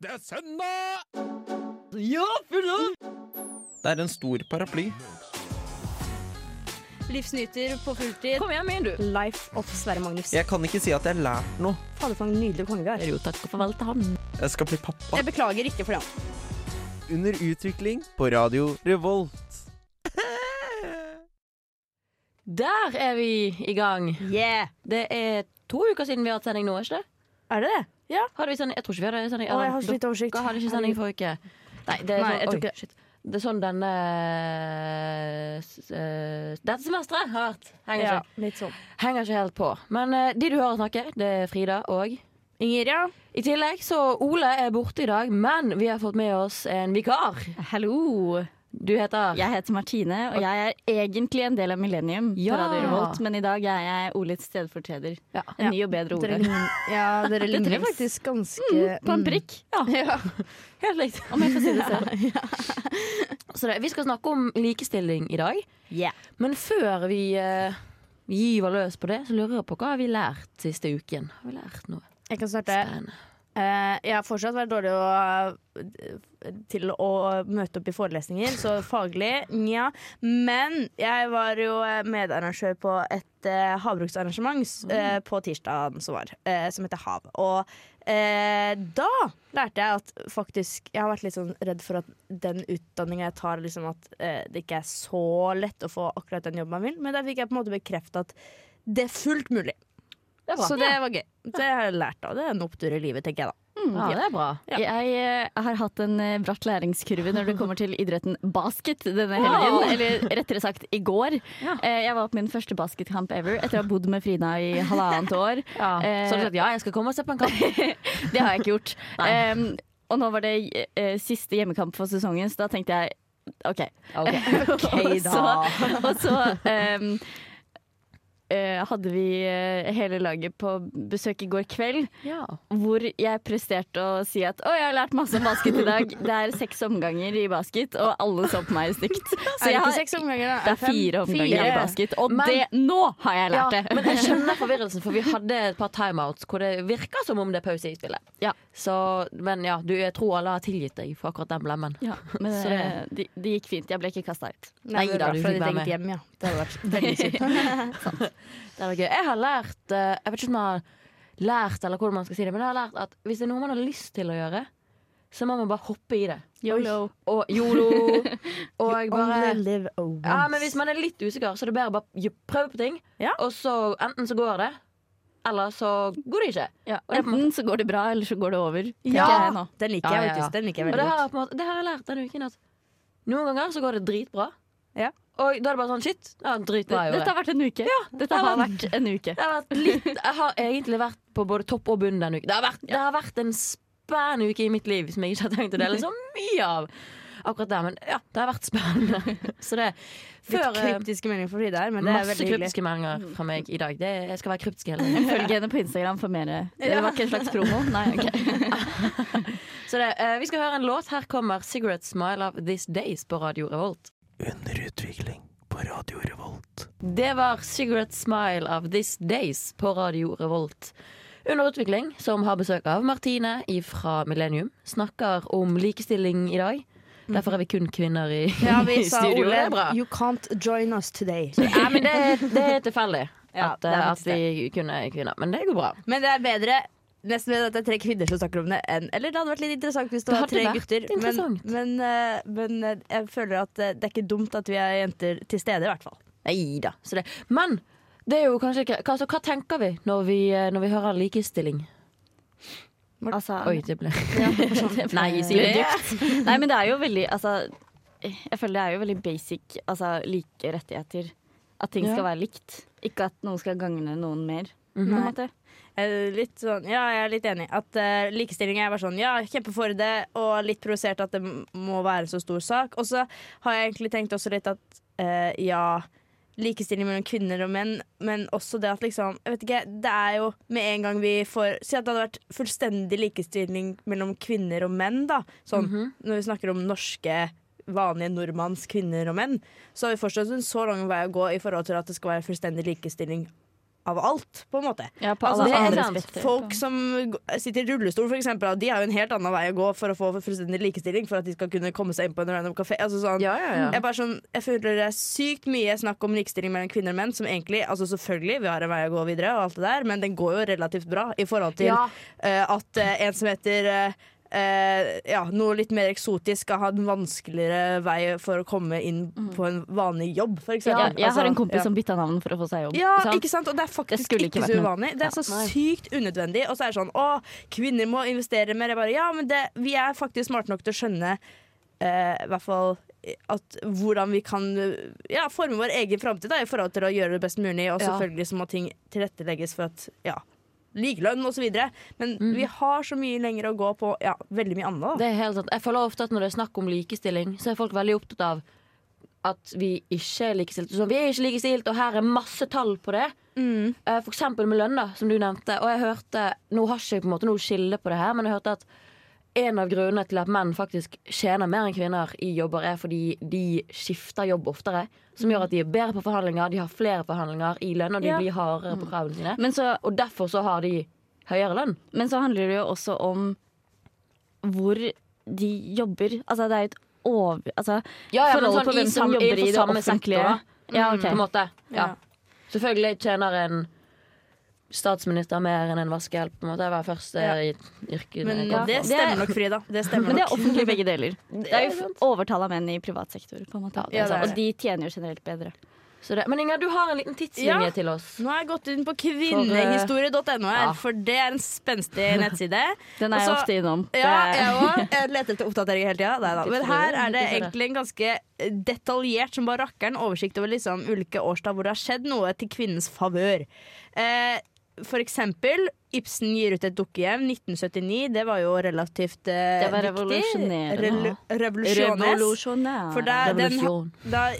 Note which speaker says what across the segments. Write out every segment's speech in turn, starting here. Speaker 1: Det er søndag!
Speaker 2: Ja, full av!
Speaker 3: Det er en stor paraply.
Speaker 4: Livsnyter på fulltid.
Speaker 2: Kom igjen, min, du.
Speaker 4: Life of Sverre Magnus.
Speaker 3: Jeg kan ikke si at jeg har lært noe.
Speaker 4: Fader, for en nydelig konge vi har.
Speaker 2: Det er jo takk og farvel til han.
Speaker 3: Jeg skal bli pappa.
Speaker 4: Jeg beklager ikke for det.
Speaker 3: Under utvikling på Radio Revolt.
Speaker 2: Der er vi i gang.
Speaker 4: Yeah!
Speaker 2: Det er to uker siden vi har hatt sending nå, er ikke det?
Speaker 4: Er det det?
Speaker 2: Hadde vi sending? Jeg tror ikke vi hadde sending.
Speaker 4: Å, jeg har så
Speaker 2: Dere
Speaker 4: lite oversikt.
Speaker 2: hadde ikke sending forrige uke. Nei, det er
Speaker 4: Nei,
Speaker 2: sånn,
Speaker 4: jeg tror
Speaker 2: oi,
Speaker 4: ikke det.
Speaker 2: shit. Det er sånn denne s- eh, Dette semesteret har vært. Henger,
Speaker 4: Ja,
Speaker 2: ikke,
Speaker 4: litt sånn.
Speaker 2: henger ikke helt på. Men eh, de du hører snakke, det er Frida og
Speaker 4: Inger, ja.
Speaker 2: I tillegg så Ole er borte i dag, men vi har fått med oss en vikar.
Speaker 5: Hallo!
Speaker 2: Du heter
Speaker 5: Jeg heter Martine, og jeg er egentlig en del av Millennium
Speaker 2: Ja.
Speaker 5: på Radio Revolt, men i dag er jeg Olets stedfortreder.
Speaker 2: Ja.
Speaker 5: En ny og bedre
Speaker 4: Dere,
Speaker 5: Ole.
Speaker 4: lign- ja, dere ligner
Speaker 5: trengs.
Speaker 4: faktisk ganske
Speaker 5: På en
Speaker 4: mm.
Speaker 5: prikk,
Speaker 4: Ja.
Speaker 2: Helt likt.
Speaker 5: om jeg får si det selv.
Speaker 2: Så det, vi skal snakke om likestilling i dag.
Speaker 5: Yeah.
Speaker 2: Men før vi eh, gyver løs på det, så lurer jeg på hva har vi lært siste uken. Har vi lært noe
Speaker 4: Jeg kan starte.
Speaker 2: spennende?
Speaker 4: Eh, jeg har fortsatt vært dårlig å, eh, til å møte opp i forelesninger, så faglig nja. Men jeg var jo eh, medarrangør på et eh, havbruksarrangement
Speaker 5: Mm.
Speaker 4: s- eh, på tirsdagen som var, eh, som heter Hav. Og eh, da lærte jeg at faktisk Jeg har vært litt sånn redd for at den utdanninga jeg tar, liksom at eh, det ikke er så lett å få akkurat den jobben man vil, men der fikk jeg på en måte bekrefta at det er fullt mulig.
Speaker 2: Det er bra.
Speaker 4: Så det var gøy. Det har jeg lært av. Det er en opptur i livet, tenker jeg da.
Speaker 5: hmm.
Speaker 2: Ja, det er bra.
Speaker 5: Mm, Jeg eh, har hatt en eh, bratt læringskurve når det kommer til idretten basket denne helgen.
Speaker 2: Wow.
Speaker 5: Eller rettere sagt i går.
Speaker 2: Ja.
Speaker 5: Eh, Jeg var på min første basketkamp ever etter å ha bodd med Frida i halvannet år. Eh,
Speaker 2: Så har du sagt ja, jeg skal komme og se på en kamp.
Speaker 5: Det har jeg ikke gjort.
Speaker 2: Nei.
Speaker 5: Em, og nå var det eh, siste hjemmekamp for sesongen, så da tenkte jeg OK.
Speaker 2: Ok, da.
Speaker 5: og så, og så em, eh, hadde vi eh, hele laget på besøk i går kveld,
Speaker 2: Ja.
Speaker 5: hvor jeg presterte å si at å, jeg har lært masse om basket i dag. Det er seks omganger i basket, og alle så på meg stygt. Så jeg har,
Speaker 4: omganger, da?
Speaker 5: det er fire omganger i basket, og
Speaker 2: Men-
Speaker 5: det, nå har jeg lært det!
Speaker 2: men jeg skjønner forvirrelsen, for vi hadde et par timeouts hvor det virker som om det er pause i spillet.
Speaker 5: Ja.
Speaker 2: Så, men ja, du, jeg tror alle har tilgitt deg for akkurat den blemmen.
Speaker 5: Ja, men
Speaker 2: Så
Speaker 5: eh,
Speaker 2: det-
Speaker 5: det det gikk fint. Jeg ble ikke kasta ut.
Speaker 2: Nei, da, du fikk være med.
Speaker 4: Hjem, ja. Det hadde vært veldig sykt.
Speaker 2: Det er gøy. Jeg har lært eh, Jeg vet ikke om jeg har lært eller hvordan man skal si det, men jeg har lært at hvis det er noe man har lyst til å gjøre, så må man bare hoppe i det.
Speaker 5: Yolo.
Speaker 2: Og yolo. Og bare
Speaker 4: Only live once.
Speaker 2: ja, men Hvis man er litt usikker, så er det bedre å bare gj- prøve på ting.
Speaker 4: Ja.
Speaker 2: Og så enten så går det, eller så går det ikke.
Speaker 5: Ja,
Speaker 2: Og det er på en
Speaker 5: enten så går det bra, eller så går det over. tenker
Speaker 4: Ja,
Speaker 5: jeg nå.
Speaker 4: Den liker
Speaker 2: Ja,
Speaker 4: jeg
Speaker 2: ja, ja.
Speaker 4: faktisk. Den liker jeg
Speaker 2: Og
Speaker 4: veldig
Speaker 2: det har,
Speaker 4: godt.
Speaker 2: jeg på en måte, det har jeg lært denne uken. At noen ganger så går det dritbra.
Speaker 4: Ja.
Speaker 2: Og da er det bare sånn shit. Ja, dritbra jeg
Speaker 5: Dette
Speaker 2: gjorde.
Speaker 5: har vært en uke. Dette har vært en uke.
Speaker 2: Det har vært litt, jeg har egentlig vært på både topp og bunn denne uken. Det har vært, det har vært en spennende uke i mitt liv som jeg ikke har tenkt å dele så mye av. Akkurat der, men ja, det har vært spennende. Så det
Speaker 4: Litt
Speaker 2: før, eh,
Speaker 4: kryptiske meldinger fra Frida her, men det er
Speaker 2: Masse
Speaker 4: veldig hyggelig. Mm.
Speaker 2: kryptiske meldinger fra meg i dag. Det, jeg skal være kryptisk hele tiden.
Speaker 5: Følg henne på Instagram for mer. Det var ikke en slags promo. Nei, ok.
Speaker 2: Så det, eh, vi skal høre en låt. Her kommer 'Cigarette Smile of These Days' på Radio Revolt.
Speaker 3: Under utvikling på Radio Revolt.
Speaker 2: Det var 'Cigarette Smile of These Days' på Radio Revolt. Under utvikling, som har besøk av Martine fra Millennium, snakker om likestilling i dag. Derfor er vi kun kvinner i,
Speaker 4: Ja, vi
Speaker 2: i
Speaker 4: sa
Speaker 2: studio.
Speaker 4: Ole
Speaker 2: Det er bra.
Speaker 4: You can't join us today.
Speaker 2: Ja, men det, det er tilfeldig
Speaker 4: Ja,
Speaker 2: at,
Speaker 4: det er
Speaker 2: eh, at
Speaker 4: faktisk
Speaker 2: vi kun er kvinner. Men det går bra.
Speaker 4: Men det er bedre nesten ved at det er tre kvinner som snakker om det, enn Eller det hadde vært litt interessant hvis det,
Speaker 2: Det
Speaker 4: var
Speaker 2: hadde
Speaker 4: tre
Speaker 2: vært
Speaker 4: gutter. Men,
Speaker 2: interessant.
Speaker 4: men, eh, men eh, jeg føler at eh, det er ikke dumt at vi er jenter til stede, i hvert fall.
Speaker 2: Nei da. Så det. Men det er jo kanskje ikke hva- altså, Hva tenker vi når vi, eh, når vi hører likestilling?
Speaker 5: Altså,
Speaker 2: Oi, det ble
Speaker 5: Nei,
Speaker 2: sier
Speaker 5: det.
Speaker 2: det.
Speaker 5: Nei, men det er jo veldig altså, Jeg føler det er jo veldig basic altså, like rettigheter. At ting skal være likt. Ikke at noen skal gagne noen mer. På en måte.
Speaker 4: Eh, Litt sånn, ja, jeg er litt enig. At eh, likestilling er bare sånn Ja, jeg kjemper for det, og litt provosert at det m- må være en så stor sak. Og så har jeg egentlig tenkt også litt at eh, ja, likestilling mellom kvinner og menn, men også det at liksom Jeg vet ikke, det er jo med en gang vi får Si at det hadde vært fullstendig likestilling mellom kvinner og menn, da. Sånn når vi snakker om norske vanlige nordmanns kvinner og menn, så har vi fortsatt en så lang vei å gå i forhold til at det skal være fullstendig likestilling av alt, på en måte.
Speaker 5: Ja, på
Speaker 4: Altså,
Speaker 5: alle
Speaker 4: det er
Speaker 5: andre
Speaker 2: sant.
Speaker 5: spekter.
Speaker 4: Folk som g- sitter i rullestol, for eksempel, de har jo en helt annen vei å gå for å få fullstendig likestilling, for at de skal kunne komme seg inn på en random kafé. Altså, sånn,
Speaker 2: Ja, ja, ja.
Speaker 4: Jeg, er bare sånn, jeg føler det er sykt mye snakk om likestilling mellom kvinner og menn, som egentlig altså Selvfølgelig, vi har en vei å gå videre, og alt det der, men den går jo relativt bra i forhold til
Speaker 5: Ja.
Speaker 4: eh, at eh, en som heter eh, eh, ja, noe litt mer eksotisk skal ha en vanskeligere vei for å komme inn på en vanlig jobb, for
Speaker 5: Mm. altså, Ja,
Speaker 4: eksempel. Altså,
Speaker 5: jeg har en kompis
Speaker 4: ja.
Speaker 5: som bytta navn for å få seg jobb.
Speaker 4: Ja,
Speaker 5: sant?
Speaker 4: ikke sant? Og det er faktisk
Speaker 5: skulle
Speaker 4: ikke,
Speaker 5: ikke vært
Speaker 4: så
Speaker 5: med.
Speaker 4: uvanlig. Det er så sykt unødvendig. Og så er det sånn å, kvinner må investere mer. Jeg bare, ja, men det, vi er faktisk smarte nok til å skjønne eh, i hvert fall at hvordan vi kan eh, ja, forme vår egen framtid da, i forhold til å gjøre det best mulig. Og
Speaker 2: Ja.
Speaker 4: selvfølgelig så må ting tilrettelegges for at ja, likelønn og så videre. Men vi har så mye lenger å gå på ja, veldig mye annet. Da.
Speaker 2: Det er helt sant. Jeg føler ofte at når det er snakk om likestilling, så er folk veldig opptatt av at vi ikke er likestilt. Sånn, vi er ikke likestilt, og her er masse tall på det.
Speaker 4: Mm,
Speaker 2: Eh, For eksempel med lønn, da, som du nevnte. Og jeg hørte Nå har ikke jeg på en måte noe skille på det her, men jeg hørte at en av grunnene til at menn faktisk tjener mer enn kvinner i jobber, er fordi de skifter jobb oftere. Som gjør at de er bedre på forhandlinger, de har flere forhandlinger i lønn, og de
Speaker 5: Ja.
Speaker 2: blir hardere på kravene sine.
Speaker 5: Men så
Speaker 2: Og derfor så har de høyere lønn.
Speaker 5: Men så handler det jo også om hvor de jobber. Altså det er jo et over... Altså
Speaker 2: Ja, ja, men
Speaker 5: forholdet
Speaker 2: sånn i
Speaker 5: på hvem
Speaker 2: som-
Speaker 5: som jobber
Speaker 2: innenfor
Speaker 5: i det
Speaker 2: samme
Speaker 5: offentlige.
Speaker 2: sektor, da.
Speaker 5: ja, ok.
Speaker 2: på en måte. Ja.
Speaker 4: Ja.
Speaker 2: Selvfølgelig tjener en statsminister mer enn en vaskehjelp. på en måte. Det var første
Speaker 4: Ja.
Speaker 2: i yrket.
Speaker 4: Men
Speaker 2: jeg kom
Speaker 4: det
Speaker 2: fra.
Speaker 4: stemmer nok, Frida. Det stemmer
Speaker 5: Men det
Speaker 4: nok.
Speaker 5: er offentlig begge deler. Det er jo
Speaker 2: sant.
Speaker 5: overtall av menn i privat sektor. På en måte.
Speaker 4: Ja, det er
Speaker 5: Og de tjener jo generelt bedre.
Speaker 2: Så det, men Inga, du har en liten tidslinje
Speaker 4: Ja.
Speaker 2: til oss.
Speaker 4: Nå har jeg gått inn på kvinnehistorie.no, her,
Speaker 2: ja.
Speaker 4: for det er en spenstig nettside.
Speaker 5: Den er jeg
Speaker 4: Også-
Speaker 5: ofte innom.
Speaker 4: Altså, Ja,
Speaker 5: Det er-
Speaker 4: jeg òg. Jeg leter etter oppdateringer hele tida. Nei da. Men her er det
Speaker 2: Tidsrevyen,
Speaker 4: egentlig en ganske detaljert som bare rakkeren oversikt over liksom ulike årstall hvor det har skjedd noe til kvinnens favør. Eh, for eksempel, Ibsen gir ut et dukkehjem 1979. Det var jo relativt eh,
Speaker 5: Det var
Speaker 4: viktig.
Speaker 5: revolusjonerende.
Speaker 4: Relu- revolusjones.
Speaker 5: Revolusjonær.
Speaker 4: For der, den,
Speaker 2: Revolusjon.
Speaker 4: da,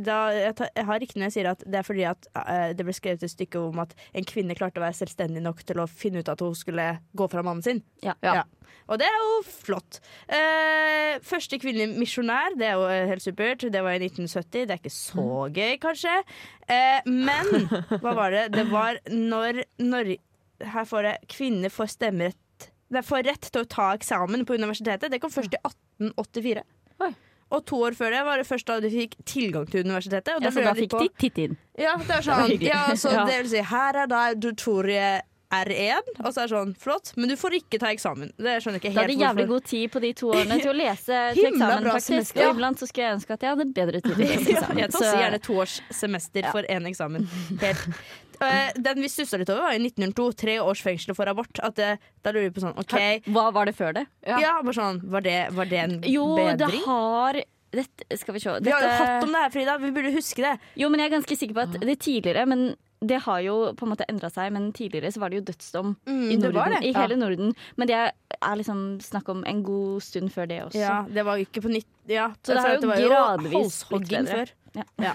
Speaker 4: da, jeg, tar, jeg har riktig når jeg sier at det er fordi at eh, det ble skrevet et stykke om at en kvinne klarte å være selvstendig nok til å finne ut at hun skulle gå fra mannen sin.
Speaker 5: Ja.
Speaker 4: Ja. Og det er jo flott. Eh, første kvinnelige misjonær, det er jo eh, helt supert. Det var i 1970. Det er ikke så
Speaker 5: Mm.
Speaker 4: gøy, kanskje. Eh, men hva var det? Det var når Norge Her får jeg kvinner får stemmerett Nei, får rett til å ta eksamen på universitetet. Det kom først i 1884.
Speaker 2: Oi.
Speaker 4: Og to år før det var det først da de fikk tilgang til universitetet. Og
Speaker 5: Ja,
Speaker 4: da
Speaker 5: så
Speaker 4: lurer
Speaker 5: Altså, da
Speaker 4: jeg litt
Speaker 5: fikk
Speaker 4: på-
Speaker 5: de titte inn.
Speaker 4: ja, det er sånn.
Speaker 5: hyggelig.
Speaker 4: Ja, så
Speaker 5: Ja.
Speaker 4: det vil si, her er da tutorie R1, og så er det sånn, flott, men du får ikke ta eksamen. Det skjønner jeg ikke
Speaker 5: Da hadde
Speaker 4: helt
Speaker 5: jeg jævlig god tid på de to årene til å lese til
Speaker 4: Himla
Speaker 5: eksamen,
Speaker 4: bra
Speaker 5: faktisk.
Speaker 4: semester.
Speaker 5: Og iblant så skulle jeg ønske at jeg hadde bedre tid til å lese eksamen.
Speaker 4: Jeg tar
Speaker 5: Så-
Speaker 4: også gjerne to års semester for én eksamen. Helt. Eh, den vi stussa litt over, var i 1902. Tre års fengsel for abort. At det, da lurer vi på sånn, OK
Speaker 5: Hva var det før det?
Speaker 4: Ja, bare sånn, var det, var det en
Speaker 5: Jo, det
Speaker 4: bedring?
Speaker 5: har dette, Skal vi se.
Speaker 4: Vi har jo
Speaker 5: Dette-
Speaker 4: hatt om det Ah. her, Frida. Vi burde huske det.
Speaker 5: Jo, men jeg er ganske sikker på at det tidligere Men det har jo på en måte endra seg, men tidligere så var det jo dødsdom
Speaker 4: Mm,
Speaker 5: i,
Speaker 4: det var
Speaker 5: Norden,
Speaker 4: det.
Speaker 5: i hele Norden. Men det er liksom snakk om en god stund før det også.
Speaker 4: Ja, det var ikke på nytt ja,
Speaker 5: Så det
Speaker 4: altså,
Speaker 5: har jo
Speaker 4: var
Speaker 5: gradvis blitt
Speaker 4: halshogging
Speaker 5: bedre.
Speaker 4: før.
Speaker 5: Ja.
Speaker 4: Ja.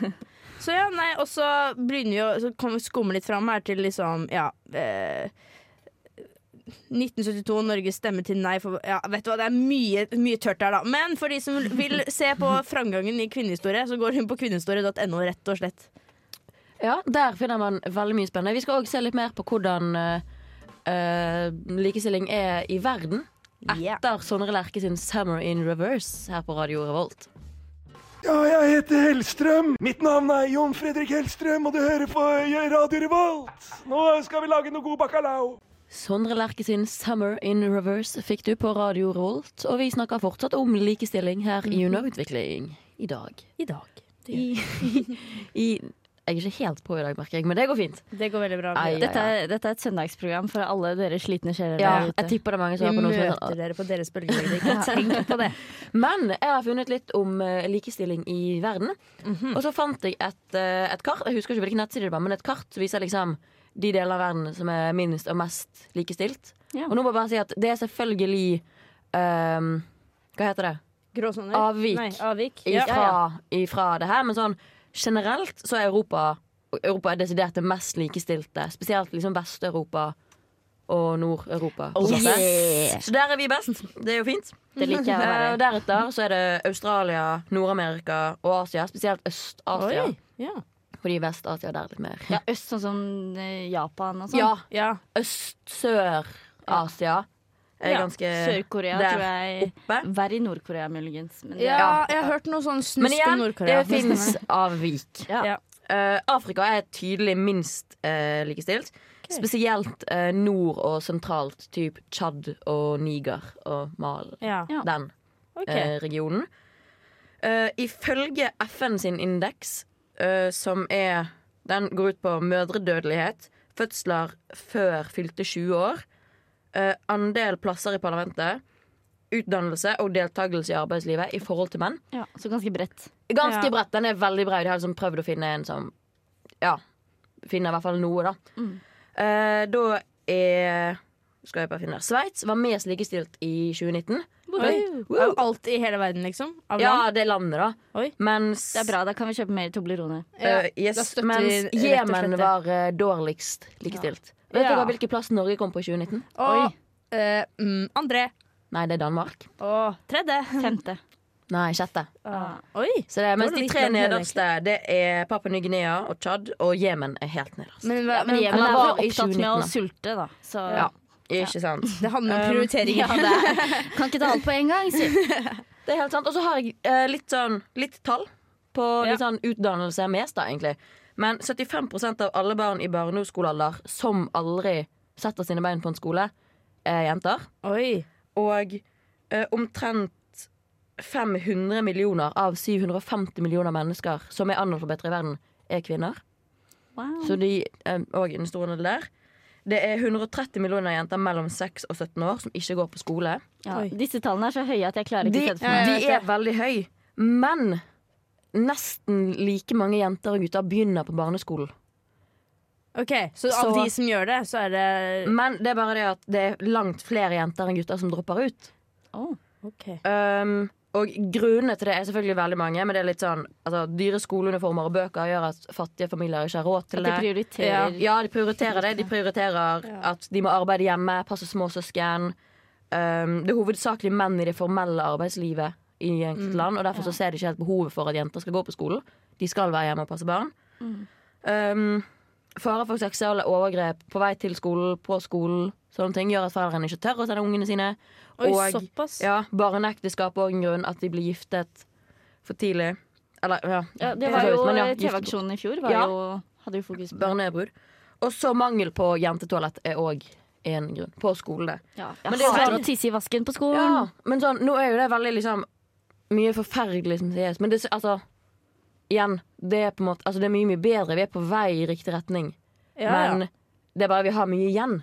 Speaker 4: Så ja, nei, og så begynner vi å så kommer vi skumme litt fram her til liksom, ja eh, 1972, Norge stemmer til nei for Ja, vet du hva, det er mye, mye tørt her, da. Men for de som vil se på framgangen i kvinnehistorie, så går hun på kvinnehistorie.no, rett og slett.
Speaker 2: Ja, Der finner man veldig mye spennende. Vi skal òg se litt mer på hvordan eh, eh, likestilling er i verden.
Speaker 4: Ja.
Speaker 2: Etter Sondre Lerche sin 'Summer in Reverse' her på Radio Revolt.
Speaker 1: Ja, jeg heter Hellstrøm. Mitt navn er Jon Fredrik Hellstrøm, og du hører på Radio Revolt. Nå skal vi lage noe god bacalao.
Speaker 2: Sondre Lerche sin 'Summer in Reverse' fikk du på Radio Revolt. Og vi snakker fortsatt om likestilling her i Underutvikling Mhm. i dag.
Speaker 4: I dag.
Speaker 2: I, i, jeg er ikke helt på i dag, merker jeg, men det går fint.
Speaker 4: Det går veldig bra.
Speaker 2: Ai, ai,
Speaker 4: Frida.
Speaker 5: Dette, er, dette er et søndagsprogram for alle dere slitne sjeler
Speaker 2: Ja,
Speaker 5: der
Speaker 2: jeg
Speaker 5: ute.
Speaker 2: tipper det er mange som
Speaker 4: Vi
Speaker 2: har på noe som heter
Speaker 4: møter dere på deres bølgelengde. Ikke tenk på det.
Speaker 2: Men jeg har funnet litt om eh, likestilling i verden. Og så fant jeg et, eh, et kart Jeg husker ikke hvilken nettside det var, men et kart som viser liksom de delene av verden som er minst og mest likestilt.
Speaker 5: Ja.
Speaker 2: Og nå må jeg bare si at det er selvfølgelig ehm, Hva heter det?
Speaker 4: Gråsoner?
Speaker 2: Avvik.
Speaker 4: Nei, avvik.
Speaker 2: Ifra, ifra det her. Men sånn generelt så er Europa Europa er desidert det mest likestilte. Spesielt liksom Vest-Europa og Nord-Europa.
Speaker 5: Oh,
Speaker 2: på en måte.
Speaker 5: Yeah.
Speaker 2: Så der er vi best. Det er jo fint.
Speaker 5: Det liker
Speaker 2: Eh,
Speaker 5: jeg å
Speaker 2: og
Speaker 5: være. altså.
Speaker 2: deretter så er det Australia, Nord-Amerika og Asia. Spesielt Øst-Asia.
Speaker 4: Oi. Ja.
Speaker 2: For fordi Vest-Asia der er litt mer.
Speaker 5: Ja, øst, sånn som eh, Japan og sånn.
Speaker 2: Ja,
Speaker 4: Ja.
Speaker 2: Øst-Sør-Asia er
Speaker 5: Ja,
Speaker 2: ganske
Speaker 5: Sør-Korea
Speaker 2: der
Speaker 5: tror jeg
Speaker 2: oppe.
Speaker 5: Verre i Nord-Korea, muligens. Men det,
Speaker 4: ja,
Speaker 2: Ja.
Speaker 4: jeg har hørt noe sånn snusk
Speaker 2: Men
Speaker 4: om
Speaker 2: igjen, det
Speaker 4: Nord-Korea.
Speaker 2: fins avvik.
Speaker 5: Ja.
Speaker 4: Ja.
Speaker 2: Eh, Afrika er tydelig minst eh, likestilt. Spesielt eh, nord og sentralt, typ Tsjad og Niger og Mal.
Speaker 4: Ja.
Speaker 5: Ja.
Speaker 2: Den
Speaker 4: Ok.
Speaker 2: eh, regionen. Eh, ifølge FN sin indeks, eh, som er Den går ut på mødredødelighet, fødsler før fylte 20 år, eh, andel plasser i parlamentet, utdannelse og deltakelse i arbeidslivet i forhold til menn.
Speaker 5: ja, Så ganske bredt.
Speaker 2: Ganske
Speaker 4: Ja.
Speaker 2: bredt. Den er veldig bred. De har liksom prøvd å finne en som Ja, finner i hvert fall noe, da.
Speaker 5: Mm.
Speaker 2: Eh, da er Skal jeg bare finne her. Sveits var mest likestilt i 2019.
Speaker 4: Oi.
Speaker 2: Wow.
Speaker 4: Av alt i hele verden, liksom? Av land?
Speaker 2: Ja, det er landet, da.
Speaker 4: Oi.
Speaker 2: Mens
Speaker 5: Det er bra, da kan vi kjøpe mer Toblerone.
Speaker 4: Ja.
Speaker 2: eh, yes,
Speaker 4: da støtter vi
Speaker 2: Mens
Speaker 4: rett og slett
Speaker 2: Jemen
Speaker 4: det.
Speaker 2: var eh, dårligst likestilt. Vet
Speaker 4: Ja.
Speaker 2: dere hvilken plass Norge kom på i 2019?
Speaker 4: Og eh, mm, André.
Speaker 2: Nei, det er Danmark.
Speaker 4: Og tredje.
Speaker 5: Femte.
Speaker 2: Nei, sjette.
Speaker 4: Ah. Oi.
Speaker 2: Så det er, mens
Speaker 4: Da er det
Speaker 2: de
Speaker 4: litt
Speaker 2: tre
Speaker 4: langt ned,
Speaker 2: nederste det er Papua Ny-Guinea og Tsjad, og Jemen er helt nederst.
Speaker 4: Men, hva-
Speaker 5: Ja, men
Speaker 4: men
Speaker 5: Jemen
Speaker 2: han
Speaker 5: er
Speaker 2: var
Speaker 5: vel
Speaker 2: i
Speaker 5: opptatt med
Speaker 2: 2019, da.
Speaker 5: å sulte, da. Så
Speaker 2: Ja. Ikke sant?
Speaker 4: det handler om
Speaker 2: Um,
Speaker 4: prioriteringer.
Speaker 5: Ja, det er. Kan ikke ta alt på en gang, si.
Speaker 2: Det er helt sant. Og så har jeg eh, litt sånn litt tall på litt sånn utdannelse mest, da, egentlig. Men 75 av alle barn i barneskolealder som aldri setter sine bein på en skole, er jenter.
Speaker 4: Oi.
Speaker 2: Og eh, omtrent 500 millioner av 750 millioner mennesker som er analfabeter i verden, er kvinner.
Speaker 5: Wow.
Speaker 2: Så de eh, og en stor andel der. Det er 130 millioner jenter mellom 6 og 17 år som ikke går på skole.
Speaker 5: Ja,
Speaker 4: Oi.
Speaker 5: disse tallene er så høye at jeg klarer
Speaker 2: De,
Speaker 5: ikke å se det for meg.
Speaker 4: Ja,
Speaker 2: de
Speaker 4: jeg
Speaker 2: er veldig høy Men nesten like mange jenter og gutter begynner på barneskolen
Speaker 4: Ok, Så av
Speaker 2: Så-
Speaker 4: de som gjør det, så er det
Speaker 2: Men det er bare det at det er langt flere jenter enn gutter som dropper ut
Speaker 5: Åh.
Speaker 4: Ok.
Speaker 2: um, Og grunnene til det er selvfølgelig veldig mange Men det er litt sånn altså, Dyre skoleuniformer og bøker gjør at fattige familier ikke har råd
Speaker 5: At
Speaker 2: til
Speaker 5: de
Speaker 2: det
Speaker 5: prioriterer
Speaker 2: Ja, de prioriterer det. De prioriterer at de må arbeide hjemme, passe småsøsken. Um, det er hovedsakelig menn i det formelle arbeidslivet i
Speaker 5: Mm.
Speaker 2: enkelte land. Og derfor så ser de ikke helt behovet for at jenter skal gå på skolen. De skal være hjemme og passe barn.
Speaker 5: Mm.
Speaker 2: Um, Fare for seksuelle overgrep på vei til skolen, på skolen, sånne ting gjør at foreldrene ikke tør å sende ungene sine.
Speaker 4: Oi,
Speaker 2: og-
Speaker 4: såpass.
Speaker 2: Ja, Barneekteskap er òg en grunn. At de blir giftet for tidlig. Eller, ja.
Speaker 5: Ja, det
Speaker 2: for
Speaker 5: var
Speaker 2: så vidt,
Speaker 5: jo eh,
Speaker 2: men ja, giftet-
Speaker 5: TV-aksjonen i fjor var
Speaker 2: Ja.
Speaker 5: jo, hadde jo fokus på
Speaker 2: Barnebrud. Og så mangel på jentetoalett er òg en grunn. På skolene.
Speaker 5: ja.
Speaker 2: Men
Speaker 5: Jeg
Speaker 2: det er jo
Speaker 5: hater
Speaker 2: sånn-
Speaker 5: å tisse i vasken på skolen.
Speaker 2: Ja, men sånn, nå er jo det veldig liksom mye forferdelig som sies. Men det, altså Igjen, det er på en måte Altså det er mye, mye bedre. Vi er på vei i riktig retning.
Speaker 4: Ja,
Speaker 2: men
Speaker 4: ja.
Speaker 2: det er bare vi har mye igjen.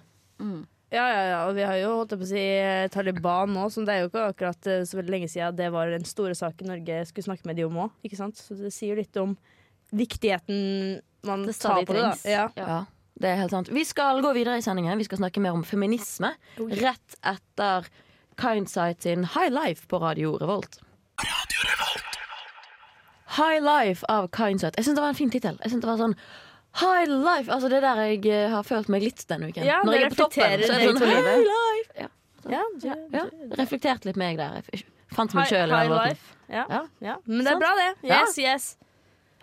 Speaker 4: ja, ja, ja. Og vi har jo holdt jeg på å si eh, Taliban nå, så det er jo ikke akkurat eh, så veldig lenge siden det var den store saken Norge skulle snakke med de om òg. Så det sier jo litt om viktigheten man
Speaker 5: Det
Speaker 4: tar
Speaker 5: stadig
Speaker 4: på det.
Speaker 5: trengs.
Speaker 4: Da. Ja.
Speaker 5: Ja.
Speaker 2: Ja, det er helt sant. Vi skal gå videre i sendingen. Vi skal snakke mer om feminisme. Rett etter Kindsight sin High Life på Radio Revolt. High Life av Kindsight. Jeg syns det var en fin tittel. Jeg synes det var sånn High life! Altså Det er der jeg eh, har følt meg litt denne uken.
Speaker 4: Ja,
Speaker 2: Når
Speaker 4: det
Speaker 2: jeg er på toppen,
Speaker 4: reflekterer
Speaker 2: så er det
Speaker 4: deg
Speaker 2: sånn
Speaker 4: på
Speaker 2: High
Speaker 4: livet.
Speaker 2: life! Ja,
Speaker 4: Ja, ja.
Speaker 2: ja. Reflektert litt meg der. Jeg f- fant meg
Speaker 4: High,
Speaker 2: sjøl i
Speaker 4: high
Speaker 2: den låten.
Speaker 4: life. Ja.
Speaker 2: Ja.
Speaker 4: Ja. Men det
Speaker 2: Sant.
Speaker 4: er bra, det.
Speaker 2: Ja.
Speaker 4: Yes, yes.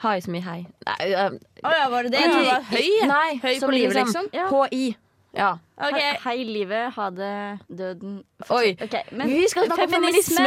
Speaker 2: High som i hei. Nei, eh,
Speaker 4: Å ja, var det det?
Speaker 2: Nei,
Speaker 4: Jeg trodde det var høy. jeg.
Speaker 2: Nei,
Speaker 4: Høy
Speaker 2: som
Speaker 4: på livet, liksom?
Speaker 5: Ja.
Speaker 2: HI. Ja.
Speaker 4: Ok.
Speaker 5: Hei, hei, livet. Ha det. Døden.
Speaker 2: Oi.
Speaker 5: Ok, men
Speaker 2: vi skal snakke om feminisme,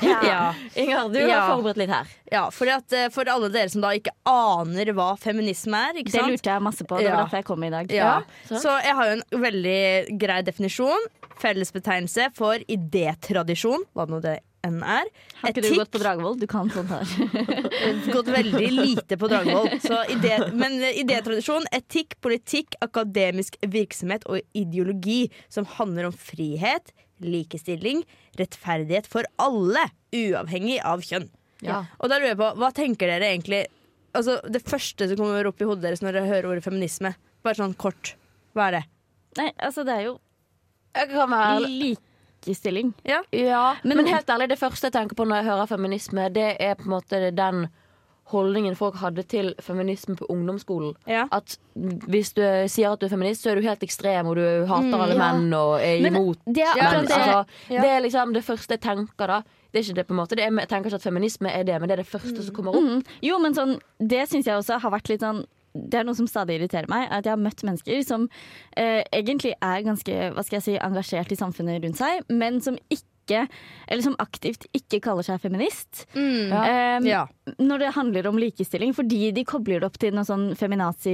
Speaker 2: vi.
Speaker 5: Ja.
Speaker 2: Inger, du
Speaker 4: Ja.
Speaker 2: har forberedt litt her.
Speaker 4: Ja, fordi at eh, For alle dere som da ikke aner hva feminisme er, ikke
Speaker 5: Det
Speaker 4: sant?
Speaker 5: lurte jeg masse på. Det
Speaker 4: Ja.
Speaker 5: var derfor jeg kom i dag.
Speaker 4: Ja.
Speaker 2: sant.
Speaker 4: Så jeg har jo en veldig grei definisjon. Fellesbetegnelse for idétradisjon, hva nå det enn er.
Speaker 5: Har ikke du gått på Dragvoll? Du kan sånt her.
Speaker 4: gått veldig lite på Dragvoll. Så ide- Men eh, idétradisjon, etikk, politikk, akademisk virksomhet og ideologi som handler om frihet, likestilling, rettferdighet for alle, uavhengig av kjønn.
Speaker 2: Ja.
Speaker 4: Og da lurer jeg på, hva tenker dere egentlig Altså, Det første som kommer opp i hodet deres når dere hører ordet feminisme, bare sånn kort, hva er det?
Speaker 5: Nei, altså, det er jo
Speaker 2: Jeg kan være
Speaker 5: likestilling.
Speaker 2: ja, men,
Speaker 5: Men-
Speaker 2: helt ærlig, det første jeg tenker på når jeg hører feminisme, det er på en måte den holdningen folk hadde til feminisme på ungdomsskolen.
Speaker 4: Ja.
Speaker 2: At hvis du sier at du er feminist, så er du helt ekstrem, og du hater alle
Speaker 5: ja.
Speaker 2: menn og er
Speaker 5: Men
Speaker 2: imot
Speaker 5: det er
Speaker 2: menn.
Speaker 5: akkurat det.
Speaker 2: Altså,
Speaker 4: Ja.
Speaker 2: det er liksom det første jeg tenker da. Det er ikke det på en måte det er, Jeg tenker ikke at feminisme er det, men det er det første som kommer opp.
Speaker 5: Mm. Jo, men sånn, det syns jeg også har vært litt sånn det er noe som stadig irriterer meg, er at jeg har møtt mennesker som eh, egentlig er ganske hva skal jeg si, engasjert i samfunnet rundt seg, men som ikke, eller som aktivt ikke kaller seg feminist.
Speaker 2: Um,
Speaker 4: Mm.
Speaker 5: Em,
Speaker 4: Ja.
Speaker 5: Når det handler om likestilling, fordi de kobler det opp til noe sånn